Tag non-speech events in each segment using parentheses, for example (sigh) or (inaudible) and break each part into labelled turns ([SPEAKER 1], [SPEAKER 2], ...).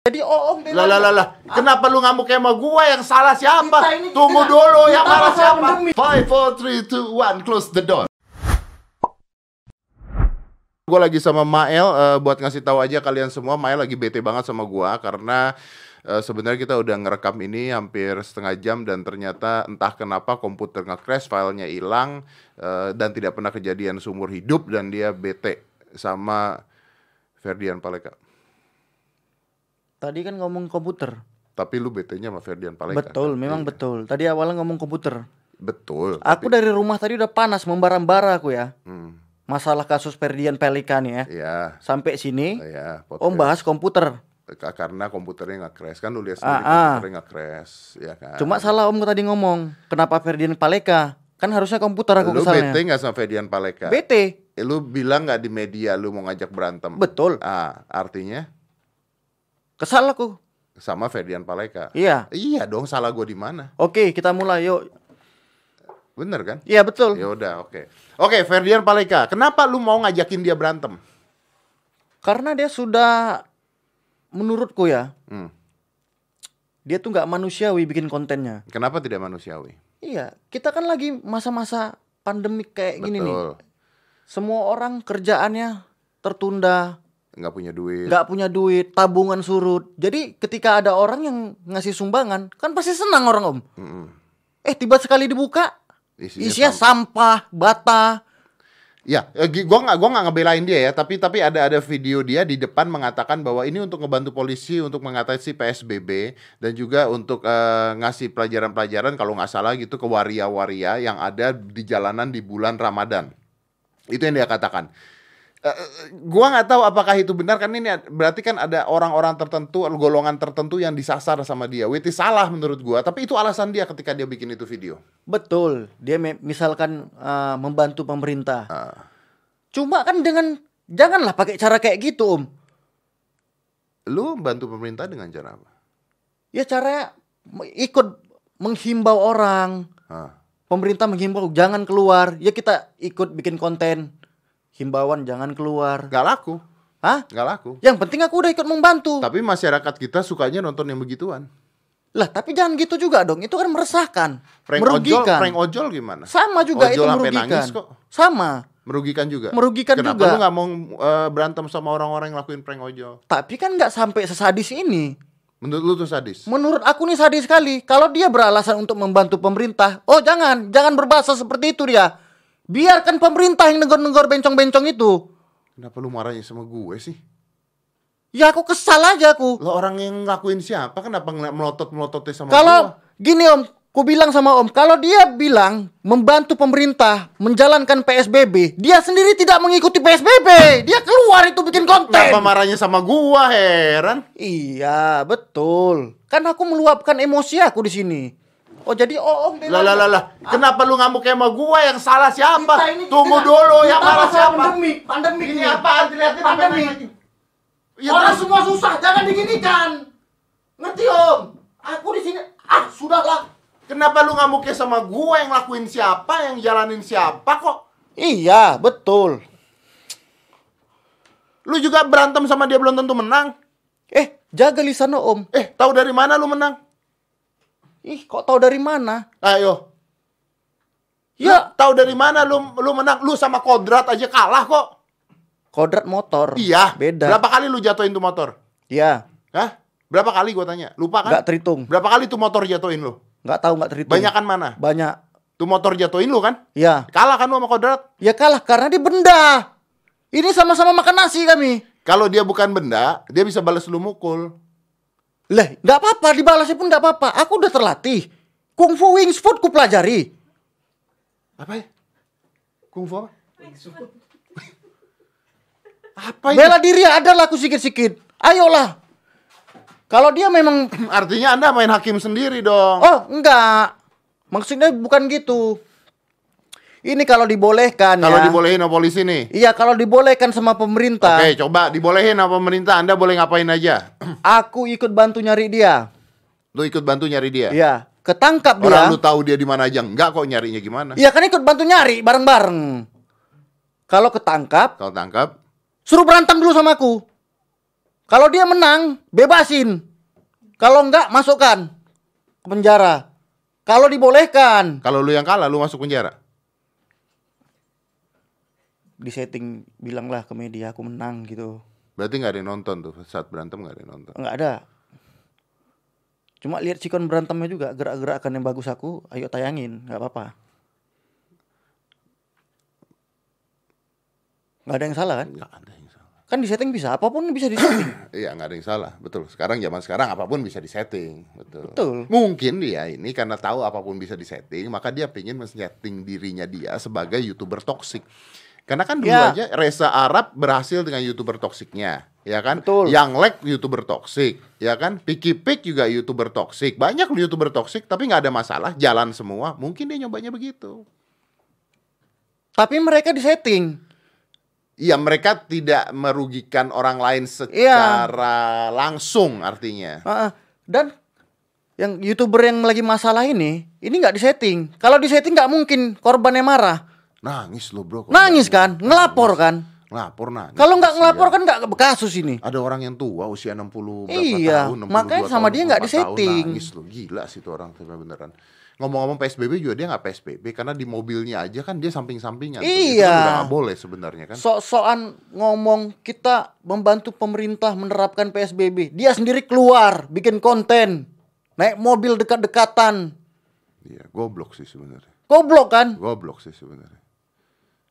[SPEAKER 1] Jadi oh, oom
[SPEAKER 2] Lah lah lah lah. Kenapa lu ngamuk sama gua yang salah
[SPEAKER 1] Kita
[SPEAKER 2] siapa?
[SPEAKER 1] ini- kita-
[SPEAKER 2] Tunggu dulu
[SPEAKER 1] kita
[SPEAKER 2] yang salah
[SPEAKER 1] sama-sama
[SPEAKER 2] siapa?
[SPEAKER 1] demi.
[SPEAKER 2] 5 4 3 2 1 close the door. Gua lagi sama Mael eh, buat ngasih tahu aja kalian semua Mael lagi bete banget sama gua karena eh, sebenarnya kita udah ngerekam ini hampir setengah jam dan ternyata entah kenapa komputer nge-crash, filenya hilang eh, dan tidak pernah kejadian seumur hidup dan dia bete sama Ferdian Paleka.
[SPEAKER 1] Tadi kan ngomong komputer.
[SPEAKER 2] Tapi lu betenya sama Ferdian Paleka.
[SPEAKER 1] Betul, memang betul. Tadi awalnya ngomong komputer.
[SPEAKER 2] kan? Iya. Betul.
[SPEAKER 1] Aku
[SPEAKER 2] tapi-
[SPEAKER 1] dari rumah tadi udah panas membara-bara aku ya.
[SPEAKER 2] Hmm,
[SPEAKER 1] Masalah kasus Ferdian Pelikan ya.
[SPEAKER 2] ya,
[SPEAKER 1] Sampai sini
[SPEAKER 2] ya. podcast.
[SPEAKER 1] om bahas komputer.
[SPEAKER 2] Ka- karena komputernya nggak crash kan lu lihat
[SPEAKER 1] Ah,
[SPEAKER 2] sendiri
[SPEAKER 1] ah.
[SPEAKER 2] komputernya nggak crash, ya kan.
[SPEAKER 1] Cuma salah om tadi ngomong. Kenapa Ferdian Paleka? Kan harusnya komputer aku
[SPEAKER 2] lu bete
[SPEAKER 1] kesalnya.
[SPEAKER 2] nggak sama Ferdian Paleka?
[SPEAKER 1] Bete.
[SPEAKER 2] Eh, lu bilang nggak di media lu mau ngajak berantem?
[SPEAKER 1] Betul.
[SPEAKER 2] Ah, artinya
[SPEAKER 1] Kesal aku.
[SPEAKER 2] sama Ferdian Paleka.
[SPEAKER 1] Iya.
[SPEAKER 2] Iya dong, salah gue di mana?
[SPEAKER 1] Oke, kita mulai yuk.
[SPEAKER 2] Bener kan?
[SPEAKER 1] Iya, betul.
[SPEAKER 2] Ya udah, oke. Oke, Ferdian Paleka, kenapa lu mau ngajakin dia berantem?
[SPEAKER 1] Karena dia sudah menurutku ya,
[SPEAKER 2] Hmm.
[SPEAKER 1] dia tuh nggak manusiawi bikin kontennya.
[SPEAKER 2] Kenapa tidak manusiawi?
[SPEAKER 1] Iya, kita kan lagi masa-masa pandemik kayak gini nih.
[SPEAKER 2] Betul.
[SPEAKER 1] Semua orang kerjaannya tertunda,
[SPEAKER 2] Nggak punya duit.
[SPEAKER 1] nggak punya duit, tabungan surut. Jadi ketika ada orang yang ngasih sumbangan, kan pasti senang orang om.
[SPEAKER 2] Mm-mm.
[SPEAKER 1] Eh tiba sekali dibuka,
[SPEAKER 2] Isinya
[SPEAKER 1] isinya sampah, bata.
[SPEAKER 2] Ya, eh, gi- gua nggak gua nggak ngebelain dia ya, tapi tapi ada ada video dia di depan mengatakan bahwa ini untuk ngebantu polisi untuk mengatasi PSBB dan juga untuk eh, ngasih pelajaran-pelajaran kalau nggak salah gitu ke waria-waria yang ada di jalanan di bulan Ramadan. Itu yang dia katakan. Eh, eh, gua nggak tahu apakah itu benar kan ini ad- berarti kan ada orang-orang tertentu golongan tertentu yang disasar sama dia. Witi salah menurut gua, tapi itu alasan dia ketika dia bikin itu video.
[SPEAKER 1] Betul, dia me- misalkan eh, membantu pemerintah.
[SPEAKER 2] Ah.
[SPEAKER 1] Cuma kan dengan janganlah pakai cara kayak gitu om.
[SPEAKER 2] Lu bantu pemerintah dengan cara apa?
[SPEAKER 1] Ya caranya me- ikut menghimbau orang.
[SPEAKER 2] Ah.
[SPEAKER 1] pemerintah menghimbau jangan keluar ya kita ikut bikin konten himbauan jangan keluar
[SPEAKER 2] Gak laku.
[SPEAKER 1] hah
[SPEAKER 2] nggak laku.
[SPEAKER 1] yang penting aku udah ikut membantu
[SPEAKER 2] Tapi masyarakat kita sukanya nonton yang begituan.
[SPEAKER 1] lah tapi jangan gitu juga dong itu kan meresahkan
[SPEAKER 2] Frank Ojol,
[SPEAKER 1] merugikan
[SPEAKER 2] Frank Ojol gimana?
[SPEAKER 1] sama juga
[SPEAKER 2] Ojol
[SPEAKER 1] itu
[SPEAKER 2] sampai
[SPEAKER 1] merugikan
[SPEAKER 2] nangis kok.
[SPEAKER 1] sama
[SPEAKER 2] Merugikan juga.
[SPEAKER 1] Merugikan
[SPEAKER 2] Kenapa
[SPEAKER 1] juga.
[SPEAKER 2] lu nggak mau eh, berantem sama orang-orang yang lakuin prank Ojol?
[SPEAKER 1] tapi kan nggak sampai sesadis ini
[SPEAKER 2] Menurut lu tuh sadis.
[SPEAKER 1] menurut aku nih sadis sekali kalau dia beralasan untuk membantu pemerintah oh jangan jangan berbahasa seperti itu dia biarkan pemerintah yang negor-negor bencong-bencong itu
[SPEAKER 2] Kenapa lu marahnya sama gue sih?
[SPEAKER 1] ya aku kesal aja aku
[SPEAKER 2] Lo orang yang ngelakuin siapa? Kenapa ngeliat melotot-melototnya sama
[SPEAKER 1] Kalau
[SPEAKER 2] gua?
[SPEAKER 1] gini Om, ku bilang sama Om, kalau dia bilang membantu pemerintah menjalankan PSBB, dia sendiri tidak mengikuti PSBB. Dia keluar itu bikin
[SPEAKER 2] Kenapa
[SPEAKER 1] konten.
[SPEAKER 2] marahnya sama gua heran?
[SPEAKER 1] Iya, betul. Kan aku meluapkan emosi aku di sini. Oh, jadi Om bilang-
[SPEAKER 2] Lah lah lah lah. Kenapa lu ngamuk sama gua yang salah
[SPEAKER 1] Kita
[SPEAKER 2] siapa?
[SPEAKER 1] ini
[SPEAKER 2] Tunggu
[SPEAKER 1] tidak-
[SPEAKER 2] dulu
[SPEAKER 1] kita
[SPEAKER 2] yang marah
[SPEAKER 1] masalah
[SPEAKER 2] siapa?
[SPEAKER 1] Pandemi, pandemi
[SPEAKER 2] Ini apaan? Dilihatin apa
[SPEAKER 1] pandemi.
[SPEAKER 2] yang- Ya,
[SPEAKER 1] Orang
[SPEAKER 2] terus-
[SPEAKER 1] semua susah, jangan diginikan. Ngerti Om? Aku di sini ah sudahlah.
[SPEAKER 2] Kenapa lu ngamuknya sama gua yang lakuin siapa, yang jalanin siapa kok?
[SPEAKER 1] Iya, betul.
[SPEAKER 2] Lu juga berantem sama dia belum tentu menang.
[SPEAKER 1] Eh, jaga lisan Om.
[SPEAKER 2] Eh, tahu dari mana lu menang?
[SPEAKER 1] Ih, kok tahu dari mana?
[SPEAKER 2] Ayo.
[SPEAKER 1] Ya,
[SPEAKER 2] Tahu dari mana lu lu menang? Lu sama Kodrat aja kalah kok.
[SPEAKER 1] kodrat motor.
[SPEAKER 2] Iya.
[SPEAKER 1] Beda.
[SPEAKER 2] Berapa kali lu jatuhin tuh motor?
[SPEAKER 1] Iya,
[SPEAKER 2] Hah? Berapa kali gua tanya? Lupa kan?
[SPEAKER 1] nggak terhitung.
[SPEAKER 2] Berapa kali tuh motor jatuhin lu?
[SPEAKER 1] Nggak tahu nggak terhitung.
[SPEAKER 2] Banyakan mana?
[SPEAKER 1] Banyak.
[SPEAKER 2] Tuh motor jatuhin lu kan?
[SPEAKER 1] Iya.
[SPEAKER 2] Kalah kan lu sama Kodrat?
[SPEAKER 1] Ya kalah karena dia benda. Ini sama-sama makan nasi kami.
[SPEAKER 2] Kalau dia bukan benda, dia bisa balas lu mukul.
[SPEAKER 1] Lah, nggak apa-apa dibalasnya pun nggak apa-apa. Aku udah terlatih. Kung Fu Wings Food ku pelajari.
[SPEAKER 2] Apa ya? Kungfu apa? (laughs) apa itu?
[SPEAKER 1] Bela diri adalah aku sikit-sikit. Ayolah. Kalau dia memang
[SPEAKER 2] Artinya Anda main hakim sendiri dong.
[SPEAKER 1] oh, enggak. Maksudnya bukan gitu. Ini kalau dibolehkan
[SPEAKER 2] Kalau
[SPEAKER 1] ya.
[SPEAKER 2] dibolehin sama polisi nih.
[SPEAKER 1] Iya, kalau dibolehkan sama pemerintah.
[SPEAKER 2] Oke, coba dibolehin sama pemerintah. Anda boleh ngapain aja. (clears throat)
[SPEAKER 1] Aku ikut bantu nyari dia.
[SPEAKER 2] Lu ikut bantu nyari dia.
[SPEAKER 1] Iya, ketangkap dia.
[SPEAKER 2] Orang lu tahu dia di mana aja. Enggak kok nyarinya gimana.
[SPEAKER 1] Iya kan ikut bantu nyari bareng-bareng. Kalau ketangkap,
[SPEAKER 2] Kalau tangkap,
[SPEAKER 1] suruh berantem dulu sama aku. Kalau dia menang, bebasin. Kalau enggak, masukkan ke penjara. Kalau dibolehkan,
[SPEAKER 2] Kalau lu yang kalah lu masuk penjara.
[SPEAKER 1] di setting bilanglah ke media aku menang gitu.
[SPEAKER 2] Berarti nggak ada yang nonton tuh saat berantem nggak ada yang nonton.
[SPEAKER 1] Enggak ada. Cuma lihat sikon berantemnya juga, gerak-gerakan yang bagus aku, ayo tayangin, nggak apa-apa. Nggak ada yang salah kan?
[SPEAKER 2] Nggak ada yang salah.
[SPEAKER 1] Kan di setting bisa, apapun bisa di setting. (coughs)
[SPEAKER 2] Iya nggak ada yang salah, betul. Sekarang zaman sekarang apapun bisa disetting, betul.
[SPEAKER 1] Betul.
[SPEAKER 2] Mungkin dia ini karena tahu apapun bisa disetting, maka dia pingin men-setting dirinya dia sebagai youtuber toksik. Karena kan dulu
[SPEAKER 1] Ya.
[SPEAKER 2] aja Reza Arab berhasil dengan youtuber toksiknya, ya kan?
[SPEAKER 1] Betul.
[SPEAKER 2] Yang Lek youtuber toksik, ya kan? Piki Pik juga youtuber toksik. Banyak loh youtuber toksik, tapi nggak ada masalah, jalan semua. Mungkin dia nyobanya begitu.
[SPEAKER 1] Tapi mereka di setting.
[SPEAKER 2] Iya, mereka tidak merugikan orang lain
[SPEAKER 1] Iya.
[SPEAKER 2] secara langsung artinya.
[SPEAKER 1] Ah, ah. dan yang youtuber yang lagi masalah ini, ini nggak di setting. Kalau di setting nggak mungkin korbannya marah,
[SPEAKER 2] Nangis lo bro. kalau
[SPEAKER 1] nangis kan,
[SPEAKER 2] nggak-
[SPEAKER 1] ngelapor kan.
[SPEAKER 2] Ngelapor nangis.
[SPEAKER 1] Kalau nggak
[SPEAKER 2] Kasihan.
[SPEAKER 1] ngelapor kan nggak kasus ini.
[SPEAKER 2] Ada orang yang tua usia 60 berapa
[SPEAKER 1] Iya,
[SPEAKER 2] tahun, 62
[SPEAKER 1] makanya sama
[SPEAKER 2] tahun,
[SPEAKER 1] dia nggak
[SPEAKER 2] 64 tahun,
[SPEAKER 1] disetting.
[SPEAKER 2] Nangis lo, gila sih tuh orang tapi beneran. Ngomong-ngomong PSBB juga dia nggak PSBB karena di mobilnya aja kan dia samping-sampingan. tuh. Itu
[SPEAKER 1] Iya.
[SPEAKER 2] kan udah nggak boleh sebenarnya kan.
[SPEAKER 1] Sok-sokan ngomong kita membantu pemerintah menerapkan PSBB. Dia sendiri keluar bikin konten, naik mobil dekat-dekatan.
[SPEAKER 2] Iya, goblok sih sebenarnya.
[SPEAKER 1] Goblok kan?
[SPEAKER 2] Goblok sih sebenarnya.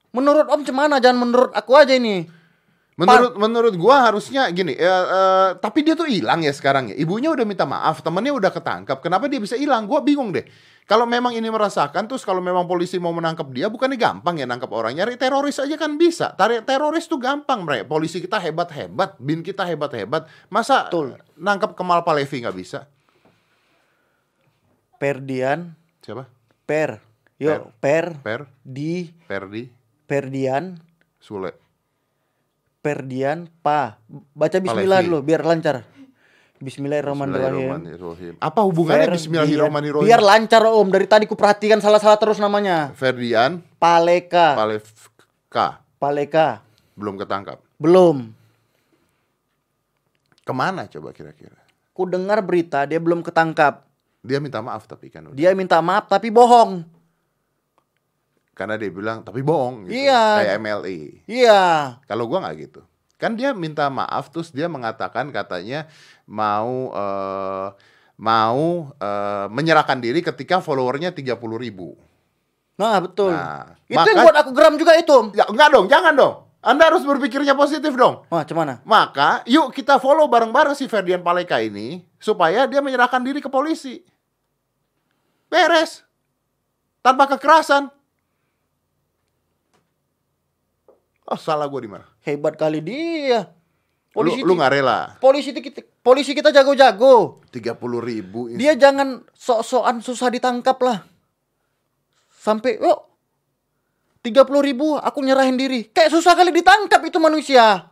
[SPEAKER 1] Menurut Om cemana? Jangan menurut aku aja ini.
[SPEAKER 2] Menurut menurut gua harusnya gini, ya, eh, tapi dia tuh hilang ya sekarang ya. Ibunya udah minta maaf, temennya udah ketangkap. Kenapa dia bisa hilang? Gua bingung deh. Kalau memang ini merasakan terus kalau memang polisi mau menangkap dia bukannya gampang ya nangkap orang. Nyari teroris aja kan bisa. Tarik teroris tuh gampang, Bre. Polisi kita hebat-hebat, bin kita hebat-hebat. Masa
[SPEAKER 1] Betul.
[SPEAKER 2] nangkap Kemal Palevi nggak bisa?
[SPEAKER 1] Perdian,
[SPEAKER 2] Siapa?
[SPEAKER 1] per, yo, per,
[SPEAKER 2] Per,
[SPEAKER 1] di,
[SPEAKER 2] Perdi,
[SPEAKER 1] Perdian,
[SPEAKER 2] Sule.
[SPEAKER 1] Perdian, pa. Baca Bismillah
[SPEAKER 2] Palevi.
[SPEAKER 1] dulu biar lancar. Bismillahirrahmanirrahim.
[SPEAKER 2] Bismillahirrahmanirrahim. Apa hubungannya
[SPEAKER 1] Ferdian.
[SPEAKER 2] Bismillahirrahmanirrahim?
[SPEAKER 1] Biar lancar Om. Dari tadi ku perhatikan salah-salah terus namanya.
[SPEAKER 2] Ferdian
[SPEAKER 1] Paleka,
[SPEAKER 2] Palevka
[SPEAKER 1] Paleka.
[SPEAKER 2] belum ketangkap.
[SPEAKER 1] Belum.
[SPEAKER 2] Kemana coba kira-kira?
[SPEAKER 1] Ku dengar berita dia belum ketangkap.
[SPEAKER 2] Dia minta maaf tapi kan udah.
[SPEAKER 1] Dia minta maaf tapi bohong.
[SPEAKER 2] Karena dia bilang tapi bohong gitu.
[SPEAKER 1] Iya.
[SPEAKER 2] Kayak MLI.
[SPEAKER 1] Iya.
[SPEAKER 2] Kalau gua nggak gitu. Kan dia minta maaf terus dia mengatakan katanya mau eh, mau eh, menyerahkan diri ketika followernya 30 ribu.
[SPEAKER 1] Nah, betul.
[SPEAKER 2] Nah,
[SPEAKER 1] itu yang
[SPEAKER 2] maka-
[SPEAKER 1] buat aku geram juga itu, Om.
[SPEAKER 2] Ya, enggak dong, jangan dong. Anda harus berpikirnya positif dong.
[SPEAKER 1] Wah, cuman
[SPEAKER 2] Maka yuk kita follow bareng-bareng si Ferdian Paleka ini supaya dia menyerahkan diri ke polisi. Beres. Tanpa kekerasan. Oh, salah gue di mana?
[SPEAKER 1] hebat kali dia.
[SPEAKER 2] Lu,
[SPEAKER 1] Polisi
[SPEAKER 2] lu gak rela.
[SPEAKER 1] polisi kita polisi kita jago-jago.
[SPEAKER 2] 30 ribu.
[SPEAKER 1] Dia jangan sok-sokan susah ditangkap lah. Sampai yuk tiga ribu aku nyerahin diri. Kayak susah kali ditangkap itu manusia.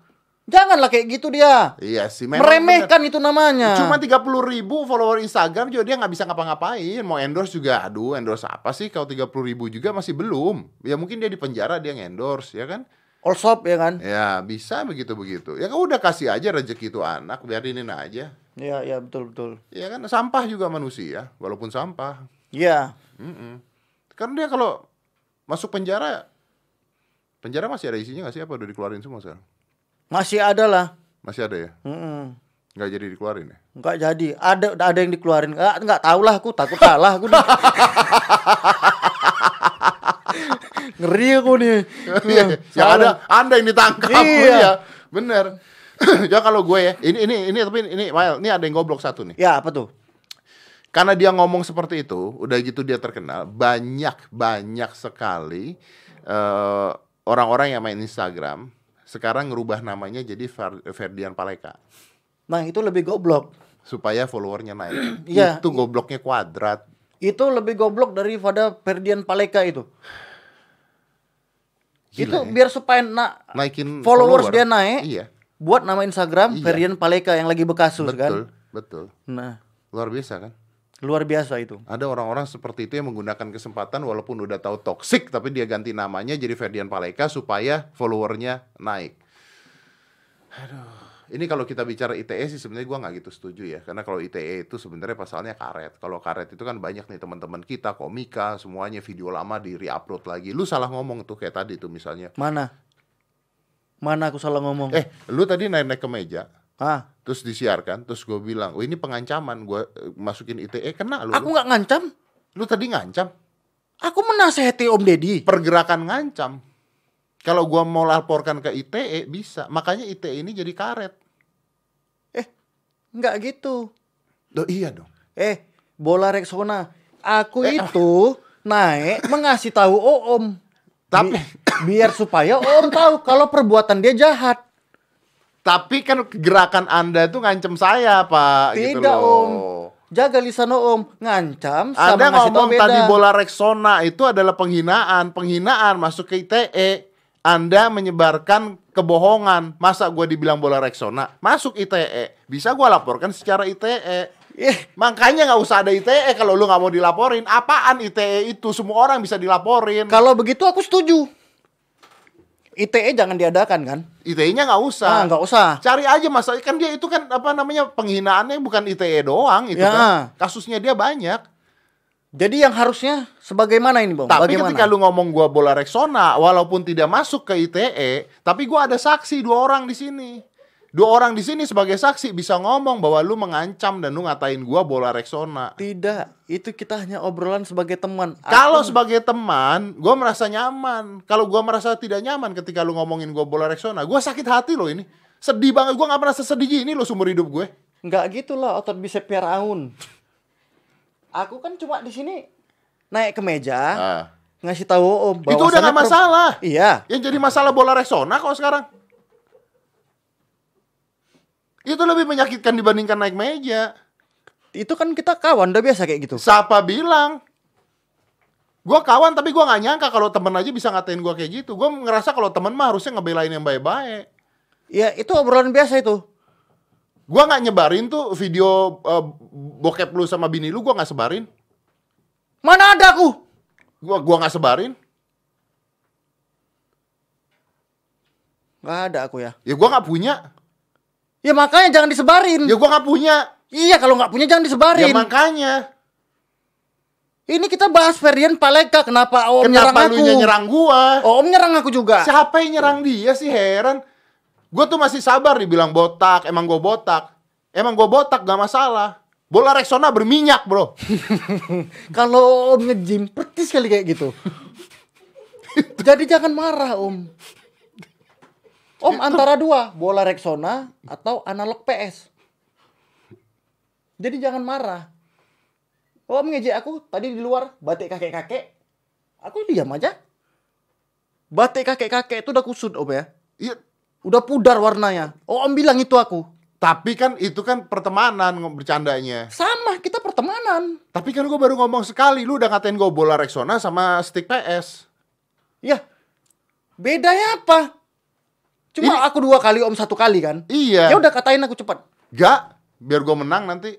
[SPEAKER 1] Janganlah kayak gitu dia.
[SPEAKER 2] Iya sih.
[SPEAKER 1] Meremehkan itu namanya.
[SPEAKER 2] Cuma 30 ribu follower Instagram juga dia nggak bisa ngapa-ngapain. Mau endorse juga, aduh endorse apa sih? Kalau 30 ribu juga masih belum. Ya mungkin dia di penjara dia endorse ya kan?
[SPEAKER 1] all shop ya kan?
[SPEAKER 2] Ya bisa begitu-begitu. Ya kan udah kasih aja rezeki itu anak, biarinin aja.
[SPEAKER 1] Iya, iya betul betul.
[SPEAKER 2] Ya kan sampah juga manusia, walaupun sampah.
[SPEAKER 1] Iya.
[SPEAKER 2] Mm-mm. Karena dia kalau masuk penjara, penjara masih ada isinya nggak sih? Apa udah dikeluarin semua sekarang?
[SPEAKER 1] Masih ada lah.
[SPEAKER 2] Masih ada ya?
[SPEAKER 1] Mm-mm.
[SPEAKER 2] Nggak jadi dikeluarin ya?
[SPEAKER 1] Nggak jadi. Ada ada yang dikeluarin. Nggak, nggak tahu lah aku takut salah aku nih. (laughs) Ngeri aku nih.
[SPEAKER 2] (laughs)
[SPEAKER 1] Mm.
[SPEAKER 2] Iya, yang ada anda yang ditangkap
[SPEAKER 1] Hmm, Iya.
[SPEAKER 2] (laughs) iya. bener (clears throat) ya kalau gue ya ini ini ini tapi ini Mael ini ada yang goblok satu nih
[SPEAKER 1] Ya apa tuh?
[SPEAKER 2] karena dia ngomong seperti itu udah gitu dia terkenal banyak banyak sekali eh, orang-orang yang main Instagram sekarang ngerubah namanya jadi Fer- Ferdian Paleka
[SPEAKER 1] Nah itu lebih goblok.
[SPEAKER 2] supaya followernya naik
[SPEAKER 1] (clears throat) Iya.
[SPEAKER 2] itu gobloknya kuadrat
[SPEAKER 1] Itu lebih goblok daripada Ferdian Paleka itu. itu
[SPEAKER 2] Gila, ya.
[SPEAKER 1] biar supaya nak
[SPEAKER 2] naikin
[SPEAKER 1] followers
[SPEAKER 2] follower.
[SPEAKER 1] dia naik.
[SPEAKER 2] iya
[SPEAKER 1] Buat nama Instagram
[SPEAKER 2] Iya.
[SPEAKER 1] Ferdian Paleka yang lagi bekasus kan.
[SPEAKER 2] betul betul
[SPEAKER 1] Nah,
[SPEAKER 2] luar biasa kan
[SPEAKER 1] luar biasa itu.
[SPEAKER 2] Ada orang-orang seperti itu yang menggunakan kesempatan walaupun udah tahu toksik tapi dia ganti namanya jadi Ferdian Paleka supaya followernya naik. Aduh, ini kalau kita bicara ITE sih sebenarnya gua nggak gitu setuju ya karena kalau ITE itu sebenarnya pasalnya karet kalau karet itu kan banyak nih teman-teman kita komika semuanya video lama di reupload lagi lu salah ngomong tuh kayak tadi tuh misalnya
[SPEAKER 1] Mana? Mana aku salah ngomong?
[SPEAKER 2] eh lu tadi naik-naik ke meja
[SPEAKER 1] Ah,
[SPEAKER 2] terus disiarkan terus gue bilang oh ini pengancaman gue masukin ITE kena lu
[SPEAKER 1] aku
[SPEAKER 2] lu,
[SPEAKER 1] nggak ngancam.
[SPEAKER 2] Lu tadi ngancam
[SPEAKER 1] Aku menasehati Om Deddy.
[SPEAKER 2] pergerakan ngancam kalau gua mau laporkan ke ITE bisa makanya ITE ini jadi karet
[SPEAKER 1] Nggak gitu.
[SPEAKER 2] Loh, iya dong
[SPEAKER 1] Eh, bola Rexona. Aku
[SPEAKER 2] Eh,
[SPEAKER 1] itu naik mengasih tahu Om.
[SPEAKER 2] Tapi-
[SPEAKER 1] Bi- biar supaya Om tahu kalau perbuatan dia jahat.
[SPEAKER 2] tapi kan gerakan anda itu ngancam saya pak gitu
[SPEAKER 1] Tidak,
[SPEAKER 2] loh.
[SPEAKER 1] Om. Jaga lisan Om, ngancam sama
[SPEAKER 2] Anda
[SPEAKER 1] ngasih tahu
[SPEAKER 2] ngomong
[SPEAKER 1] beda.
[SPEAKER 2] tadi bola Rexona itu adalah penghinaan, penghinaan masuk ke ITE. Anda menyebarkan kebohongan. Masa gua dibilang bola Rexona? Masuk ITE. Bisa gua laporkan secara ITE.
[SPEAKER 1] Ih,
[SPEAKER 2] Makanya nggak usah ada ITE kalau lu nggak mau dilaporin. Apaan ITE itu? Semua orang bisa dilaporin.
[SPEAKER 1] kalau begitu aku setuju. ITE jangan diadakan kan?
[SPEAKER 2] ITE-nya nggak usah.
[SPEAKER 1] Ah, nggak usah.
[SPEAKER 2] Cari aja masalah kan dia itu kan apa namanya penghinaannya bukan ITE doang itu
[SPEAKER 1] Ya.
[SPEAKER 2] kan. Kasusnya dia banyak.
[SPEAKER 1] Jadi yang harusnya sebagaimana ini, Bang?
[SPEAKER 2] Tapi
[SPEAKER 1] Oh, Bagaimana?
[SPEAKER 2] ketika lu ngomong gua bola Rexona, walaupun tidak masuk ke ITE, tapi gua ada saksi dua orang di sini. Dua orang di sini sebagai saksi bisa ngomong bahwa lu mengancam dan lu ngatain gua bola Rexona.
[SPEAKER 1] Tidak, itu kita hanya obrolan sebagai teman.
[SPEAKER 2] Kalau
[SPEAKER 1] Aku-
[SPEAKER 2] sebagai teman, gua merasa nyaman. Kalau gua merasa tidak nyaman ketika lu ngomongin gua bola Rexona, gua sakit hati loh ini. Sedih banget, gua nggak pernah sesedih ini loh seumur hidup gue.
[SPEAKER 1] nggak gitulah otot bisa Firaun. Aku kan cuma di sini naik ke meja
[SPEAKER 2] Ah.
[SPEAKER 1] ngasih tahu Om
[SPEAKER 2] Itu udah
[SPEAKER 1] bahwasannya
[SPEAKER 2] nggak
[SPEAKER 1] per-
[SPEAKER 2] masalah.
[SPEAKER 1] Iya,
[SPEAKER 2] Yang jadi masalah bola Rexona kok sekarang. Itu lebih menyakitkan dibandingkan naik meja.
[SPEAKER 1] itu kan kita kawan udah biasa kayak gitu.
[SPEAKER 2] Siapa bilang? Gua kawan tapi gua nggak nyangka kalau temen aja bisa ngatain gua kayak gitu. Gua ngerasa kalau temen mah harusnya ngebelain yang baik-baik.
[SPEAKER 1] Ya itu obrolan biasa itu.
[SPEAKER 2] Gua nggak nyebarin tuh video eh, bokep lu sama bini lu, gua nggak sebarin.
[SPEAKER 1] Mana ada aku?
[SPEAKER 2] Gua gua nggak sebarin.
[SPEAKER 1] Nggak ada aku ya.
[SPEAKER 2] Ya gua nggak punya.
[SPEAKER 1] Ya makanya jangan disebarin.
[SPEAKER 2] Ya gua nggak punya.
[SPEAKER 1] Iya kalau nggak punya jangan
[SPEAKER 2] Ya
[SPEAKER 1] disebarin.
[SPEAKER 2] makanya.
[SPEAKER 1] Ini kita bahas Ferdian Paleka kenapa Om nyerang
[SPEAKER 2] Kenapa
[SPEAKER 1] aku?
[SPEAKER 2] lu
[SPEAKER 1] Oh,
[SPEAKER 2] nyerang gua?
[SPEAKER 1] Om nyerang aku juga.
[SPEAKER 2] (laughs) Siapa yang nyerang dia sih heran? Gue tuh masih sabar dibilang botak, emang gue botak. Emang gue botak gak masalah. Bola Rexona berminyak bro.
[SPEAKER 1] Kalau Om nge-gym pertis kali kayak gitu. Jadi jangan marah Om. Om antara dua, bola Rexona atau analog PS. Jadi jangan marah. Om ngejek aku tadi di luar batik kakek-kakek. Aku diam aja. Batik kakek-kakek itu udah kusut Om ya.
[SPEAKER 2] Iya,
[SPEAKER 1] Udah pudar warnanya. Om bilang itu aku.
[SPEAKER 2] tapi kan itu kan pertemanan nge- bercandanya.
[SPEAKER 1] Sama, kita pertemanan.
[SPEAKER 2] Tapi kan gue baru ngomong sekali, lu udah ngatain gue bola Rexona sama stick PS.
[SPEAKER 1] Ya, bedanya apa? Cuma aku dua kali, om satu kali kan?
[SPEAKER 2] Iya.
[SPEAKER 1] Ya udah katain aku cepat.
[SPEAKER 2] Gak, biar gue menang nanti.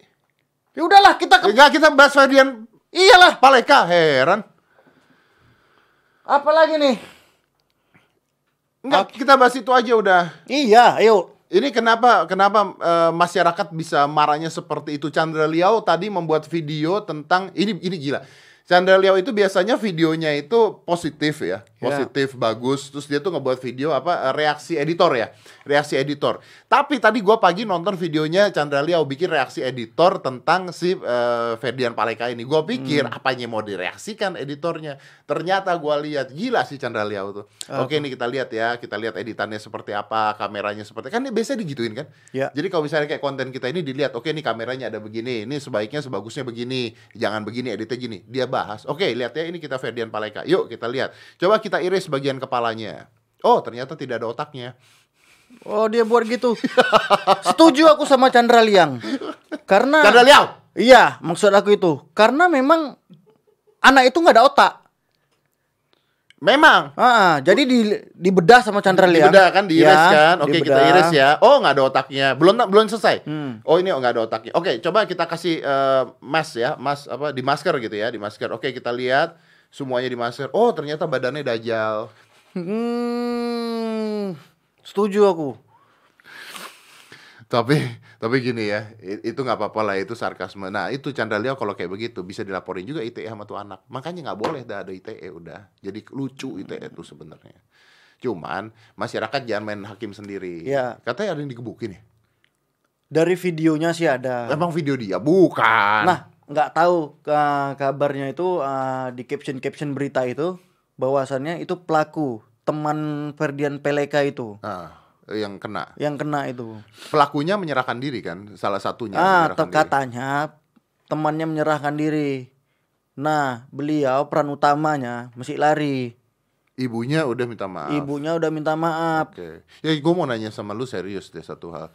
[SPEAKER 1] Ya udahlah kita ke...
[SPEAKER 2] Gak kita bahas Ferdian
[SPEAKER 1] Iyalah,
[SPEAKER 2] Paleka, heran.
[SPEAKER 1] apalagi nih?
[SPEAKER 2] Enggak, kita bahas itu aja udah.
[SPEAKER 1] Iya, ayo.
[SPEAKER 2] Ini kenapa kenapa eh, masyarakat bisa marahnya seperti itu? Chandra Liao tadi membuat video tentang ini ini gila. Chandra Liao itu biasanya videonya itu positif ya, positif bagus. Terus dia tuh ngebuat video apa eh, reaksi editor ya, reaksi editor. Tapi tadi gua pagi nonton videonya Chandra Liao bikin reaksi editor tentang si eh, Ferdian Paleka ini. Gua pikir apanya yang mau direaksikan editornya. Ternyata gua lihat gila si Chandra Liao tuh. Oke ini kita lihat ya, kita lihat editannya seperti apa, kameranya seperti kan dia biasanya digituin kan.
[SPEAKER 1] Ya.
[SPEAKER 2] Jadi kalau misalnya kayak konten kita ini dilihat, oke ini kameranya ada begini, ini sebaiknya sebagusnya begini, jangan begini editnya gini. Dia bahas. Oke, lihat ya ini kita Ferdian Paleka. Yuk kita lihat. Coba kita iris bagian kepalanya. Oh, ternyata tidak ada otaknya.
[SPEAKER 1] Oh, dia buat
[SPEAKER 2] (laughs)
[SPEAKER 1] gitu. Setuju aku sama Chandra Liang. Karena...
[SPEAKER 2] Chandra Liao.
[SPEAKER 1] Iya, maksud aku itu. Karena memang anak itu nggak ada otak.
[SPEAKER 2] Memang
[SPEAKER 1] Ah, ah, jadi di dibedah sama Chandra Liang.
[SPEAKER 2] Dibedah kan diiris
[SPEAKER 1] Ya,
[SPEAKER 2] kan. Oke kita
[SPEAKER 1] dibedah.
[SPEAKER 2] iris ya. Oh nggak ada otaknya. Belum belum selesai.
[SPEAKER 1] Hmm.
[SPEAKER 2] Oh ini nggak ada otaknya. Oke coba kita kasih eh, mas ya, mas apa di masker gitu ya, di masker. Oke kita lihat semuanya di masker. Oh ternyata badannya dajal.
[SPEAKER 1] Hmm, setuju aku.
[SPEAKER 2] tapi tapi gini ya i- itu nggak apa-apa lah itu sarkasme nah itu Chandra Leo kalau kayak begitu bisa dilaporin juga ITE sama tuh anak makanya nggak boleh dah ada ITE udah jadi
[SPEAKER 1] Hmm.
[SPEAKER 2] lucu ITE itu sebenarnya cuman masyarakat jangan main hakim sendiri
[SPEAKER 1] Iya.
[SPEAKER 2] katanya ada yang digebukin ya
[SPEAKER 1] Dari videonya sih ada.
[SPEAKER 2] emang video dia bukan
[SPEAKER 1] Nah, nggak tahu eh, kabarnya itu eh, di caption-caption berita itu bahwasannya itu pelaku teman Ferdian Peleka itu
[SPEAKER 2] Ah, yang kena
[SPEAKER 1] yang kena itu.
[SPEAKER 2] pelakunya menyerahkan diri kan salah
[SPEAKER 1] Ah,
[SPEAKER 2] satunya menyerahkan
[SPEAKER 1] te-
[SPEAKER 2] diri.
[SPEAKER 1] katanya temannya menyerahkan diri. Nah, beliau peran utamanya mesti lari.
[SPEAKER 2] ibunya udah minta maaf
[SPEAKER 1] Ibunya udah minta maaf.
[SPEAKER 2] Oke. Ya gue mau nanya sama lu serius deh satu hal.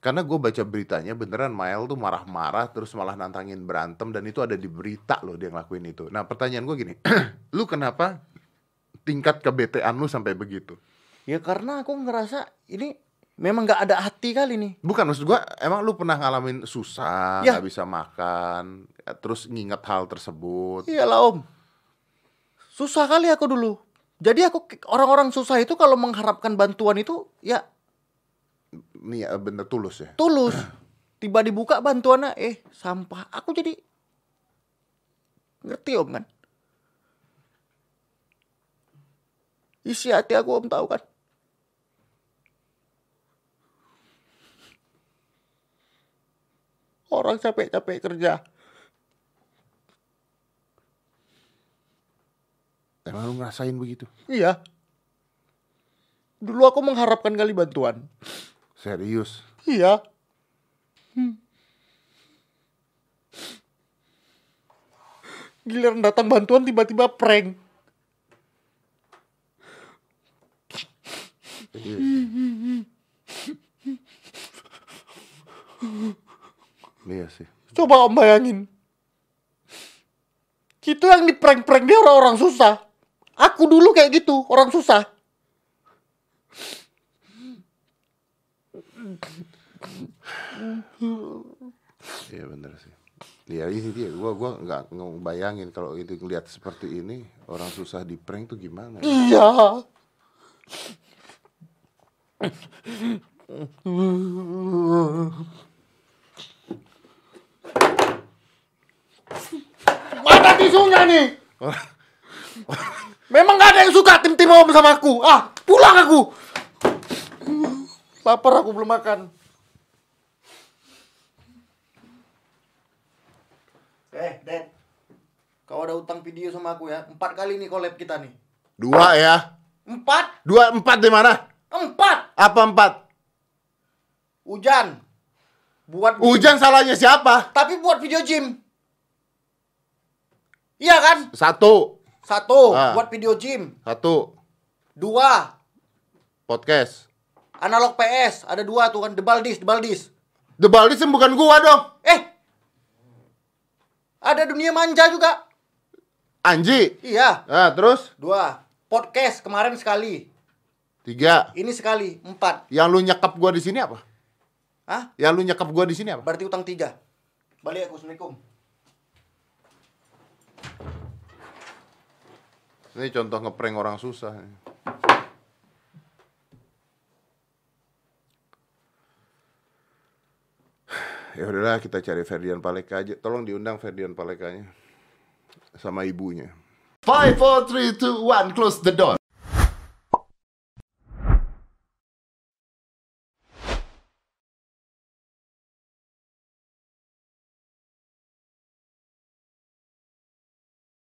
[SPEAKER 2] Karena gue baca beritanya beneran Mael tuh marah-marah terus malah nantangin berantem dan itu ada di berita loh dia ngelakuin itu. Nah pertanyaan gue gini, (clears throat) lu kenapa tingkat kebetean lu sampai begitu?
[SPEAKER 1] Ya karena aku ngerasa ini memang nggak ada hati kali nih.
[SPEAKER 2] Bukan maksud gue, emang lu pernah ngalamin susah,
[SPEAKER 1] Ya.
[SPEAKER 2] nggak bisa makan, terus nginget hal tersebut.
[SPEAKER 1] Iyalah Iya om. Susah kali aku dulu. Jadi aku orang-orang susah itu kalau mengharapkan bantuan itu ya
[SPEAKER 2] Nih ya, bener tulus ya.
[SPEAKER 1] tulus. Tiba dibuka bantuannya eh sampah. Aku jadi ngerti om kan. Isi hati aku om tahu kan. Orang capek-capek kerja.
[SPEAKER 2] Emang lu ngerasain begitu?
[SPEAKER 1] Iya. Dulu aku mengharapkan kali bantuan.
[SPEAKER 2] Serius?
[SPEAKER 1] Iya. Giliran datang bantuan tiba-tiba prank.
[SPEAKER 2] Iya Iya sih.
[SPEAKER 1] Coba om bayangin. Itu yang di prank-prank dia orang-orang susah. Aku dulu kayak gitu, orang susah.
[SPEAKER 2] Iya bener sih. Iya ini dia. Gua gua nggak ngebayangin kalau itu ngeliat seperti ini orang susah di prank tuh gimana? ya?
[SPEAKER 1] Iya. Mana tisunya nih? Memang gak ada yang suka tim-tim om sama aku. Ah, pulang aku. Lapar aku belum makan. Eh, Den. Kau ada utang video sama aku ya. Empat kali nih collab kita nih.
[SPEAKER 2] Dua ya.
[SPEAKER 1] Empat,
[SPEAKER 2] Dua empat di mana?
[SPEAKER 1] empat.
[SPEAKER 2] Apa empat?
[SPEAKER 1] Hujan. Buat
[SPEAKER 2] Ujang salahnya siapa?
[SPEAKER 1] tapi buat video gym. Iya kan?
[SPEAKER 2] Satu,
[SPEAKER 1] Satu,
[SPEAKER 2] Ah.
[SPEAKER 1] buat video gym.
[SPEAKER 2] satu
[SPEAKER 1] Dua,
[SPEAKER 2] podcast.
[SPEAKER 1] analog PS. Ada dua tuh kan, debal disk, debal disk.
[SPEAKER 2] The Balism bukan gua dong.
[SPEAKER 1] Eh, ada dunia manja juga.
[SPEAKER 2] Anji.
[SPEAKER 1] Iya,
[SPEAKER 2] Nah terus
[SPEAKER 1] dua. Podcast kemarin sekali,
[SPEAKER 2] tiga.
[SPEAKER 1] ini sekali, empat.
[SPEAKER 2] Yang lu nyekap gua di sini apa?
[SPEAKER 1] Hah?
[SPEAKER 2] Yang lu nyekap gua di sini apa?
[SPEAKER 1] Berarti utang tiga. Balik aku, Assalamualaikum.
[SPEAKER 2] Ini contoh ngeprank orang susah. Ya udahlah kita cari Ferdian Paleka aja. Tolong diundang Ferdian Palekanya sama ibunya. Five, four, three, two, one, close the door.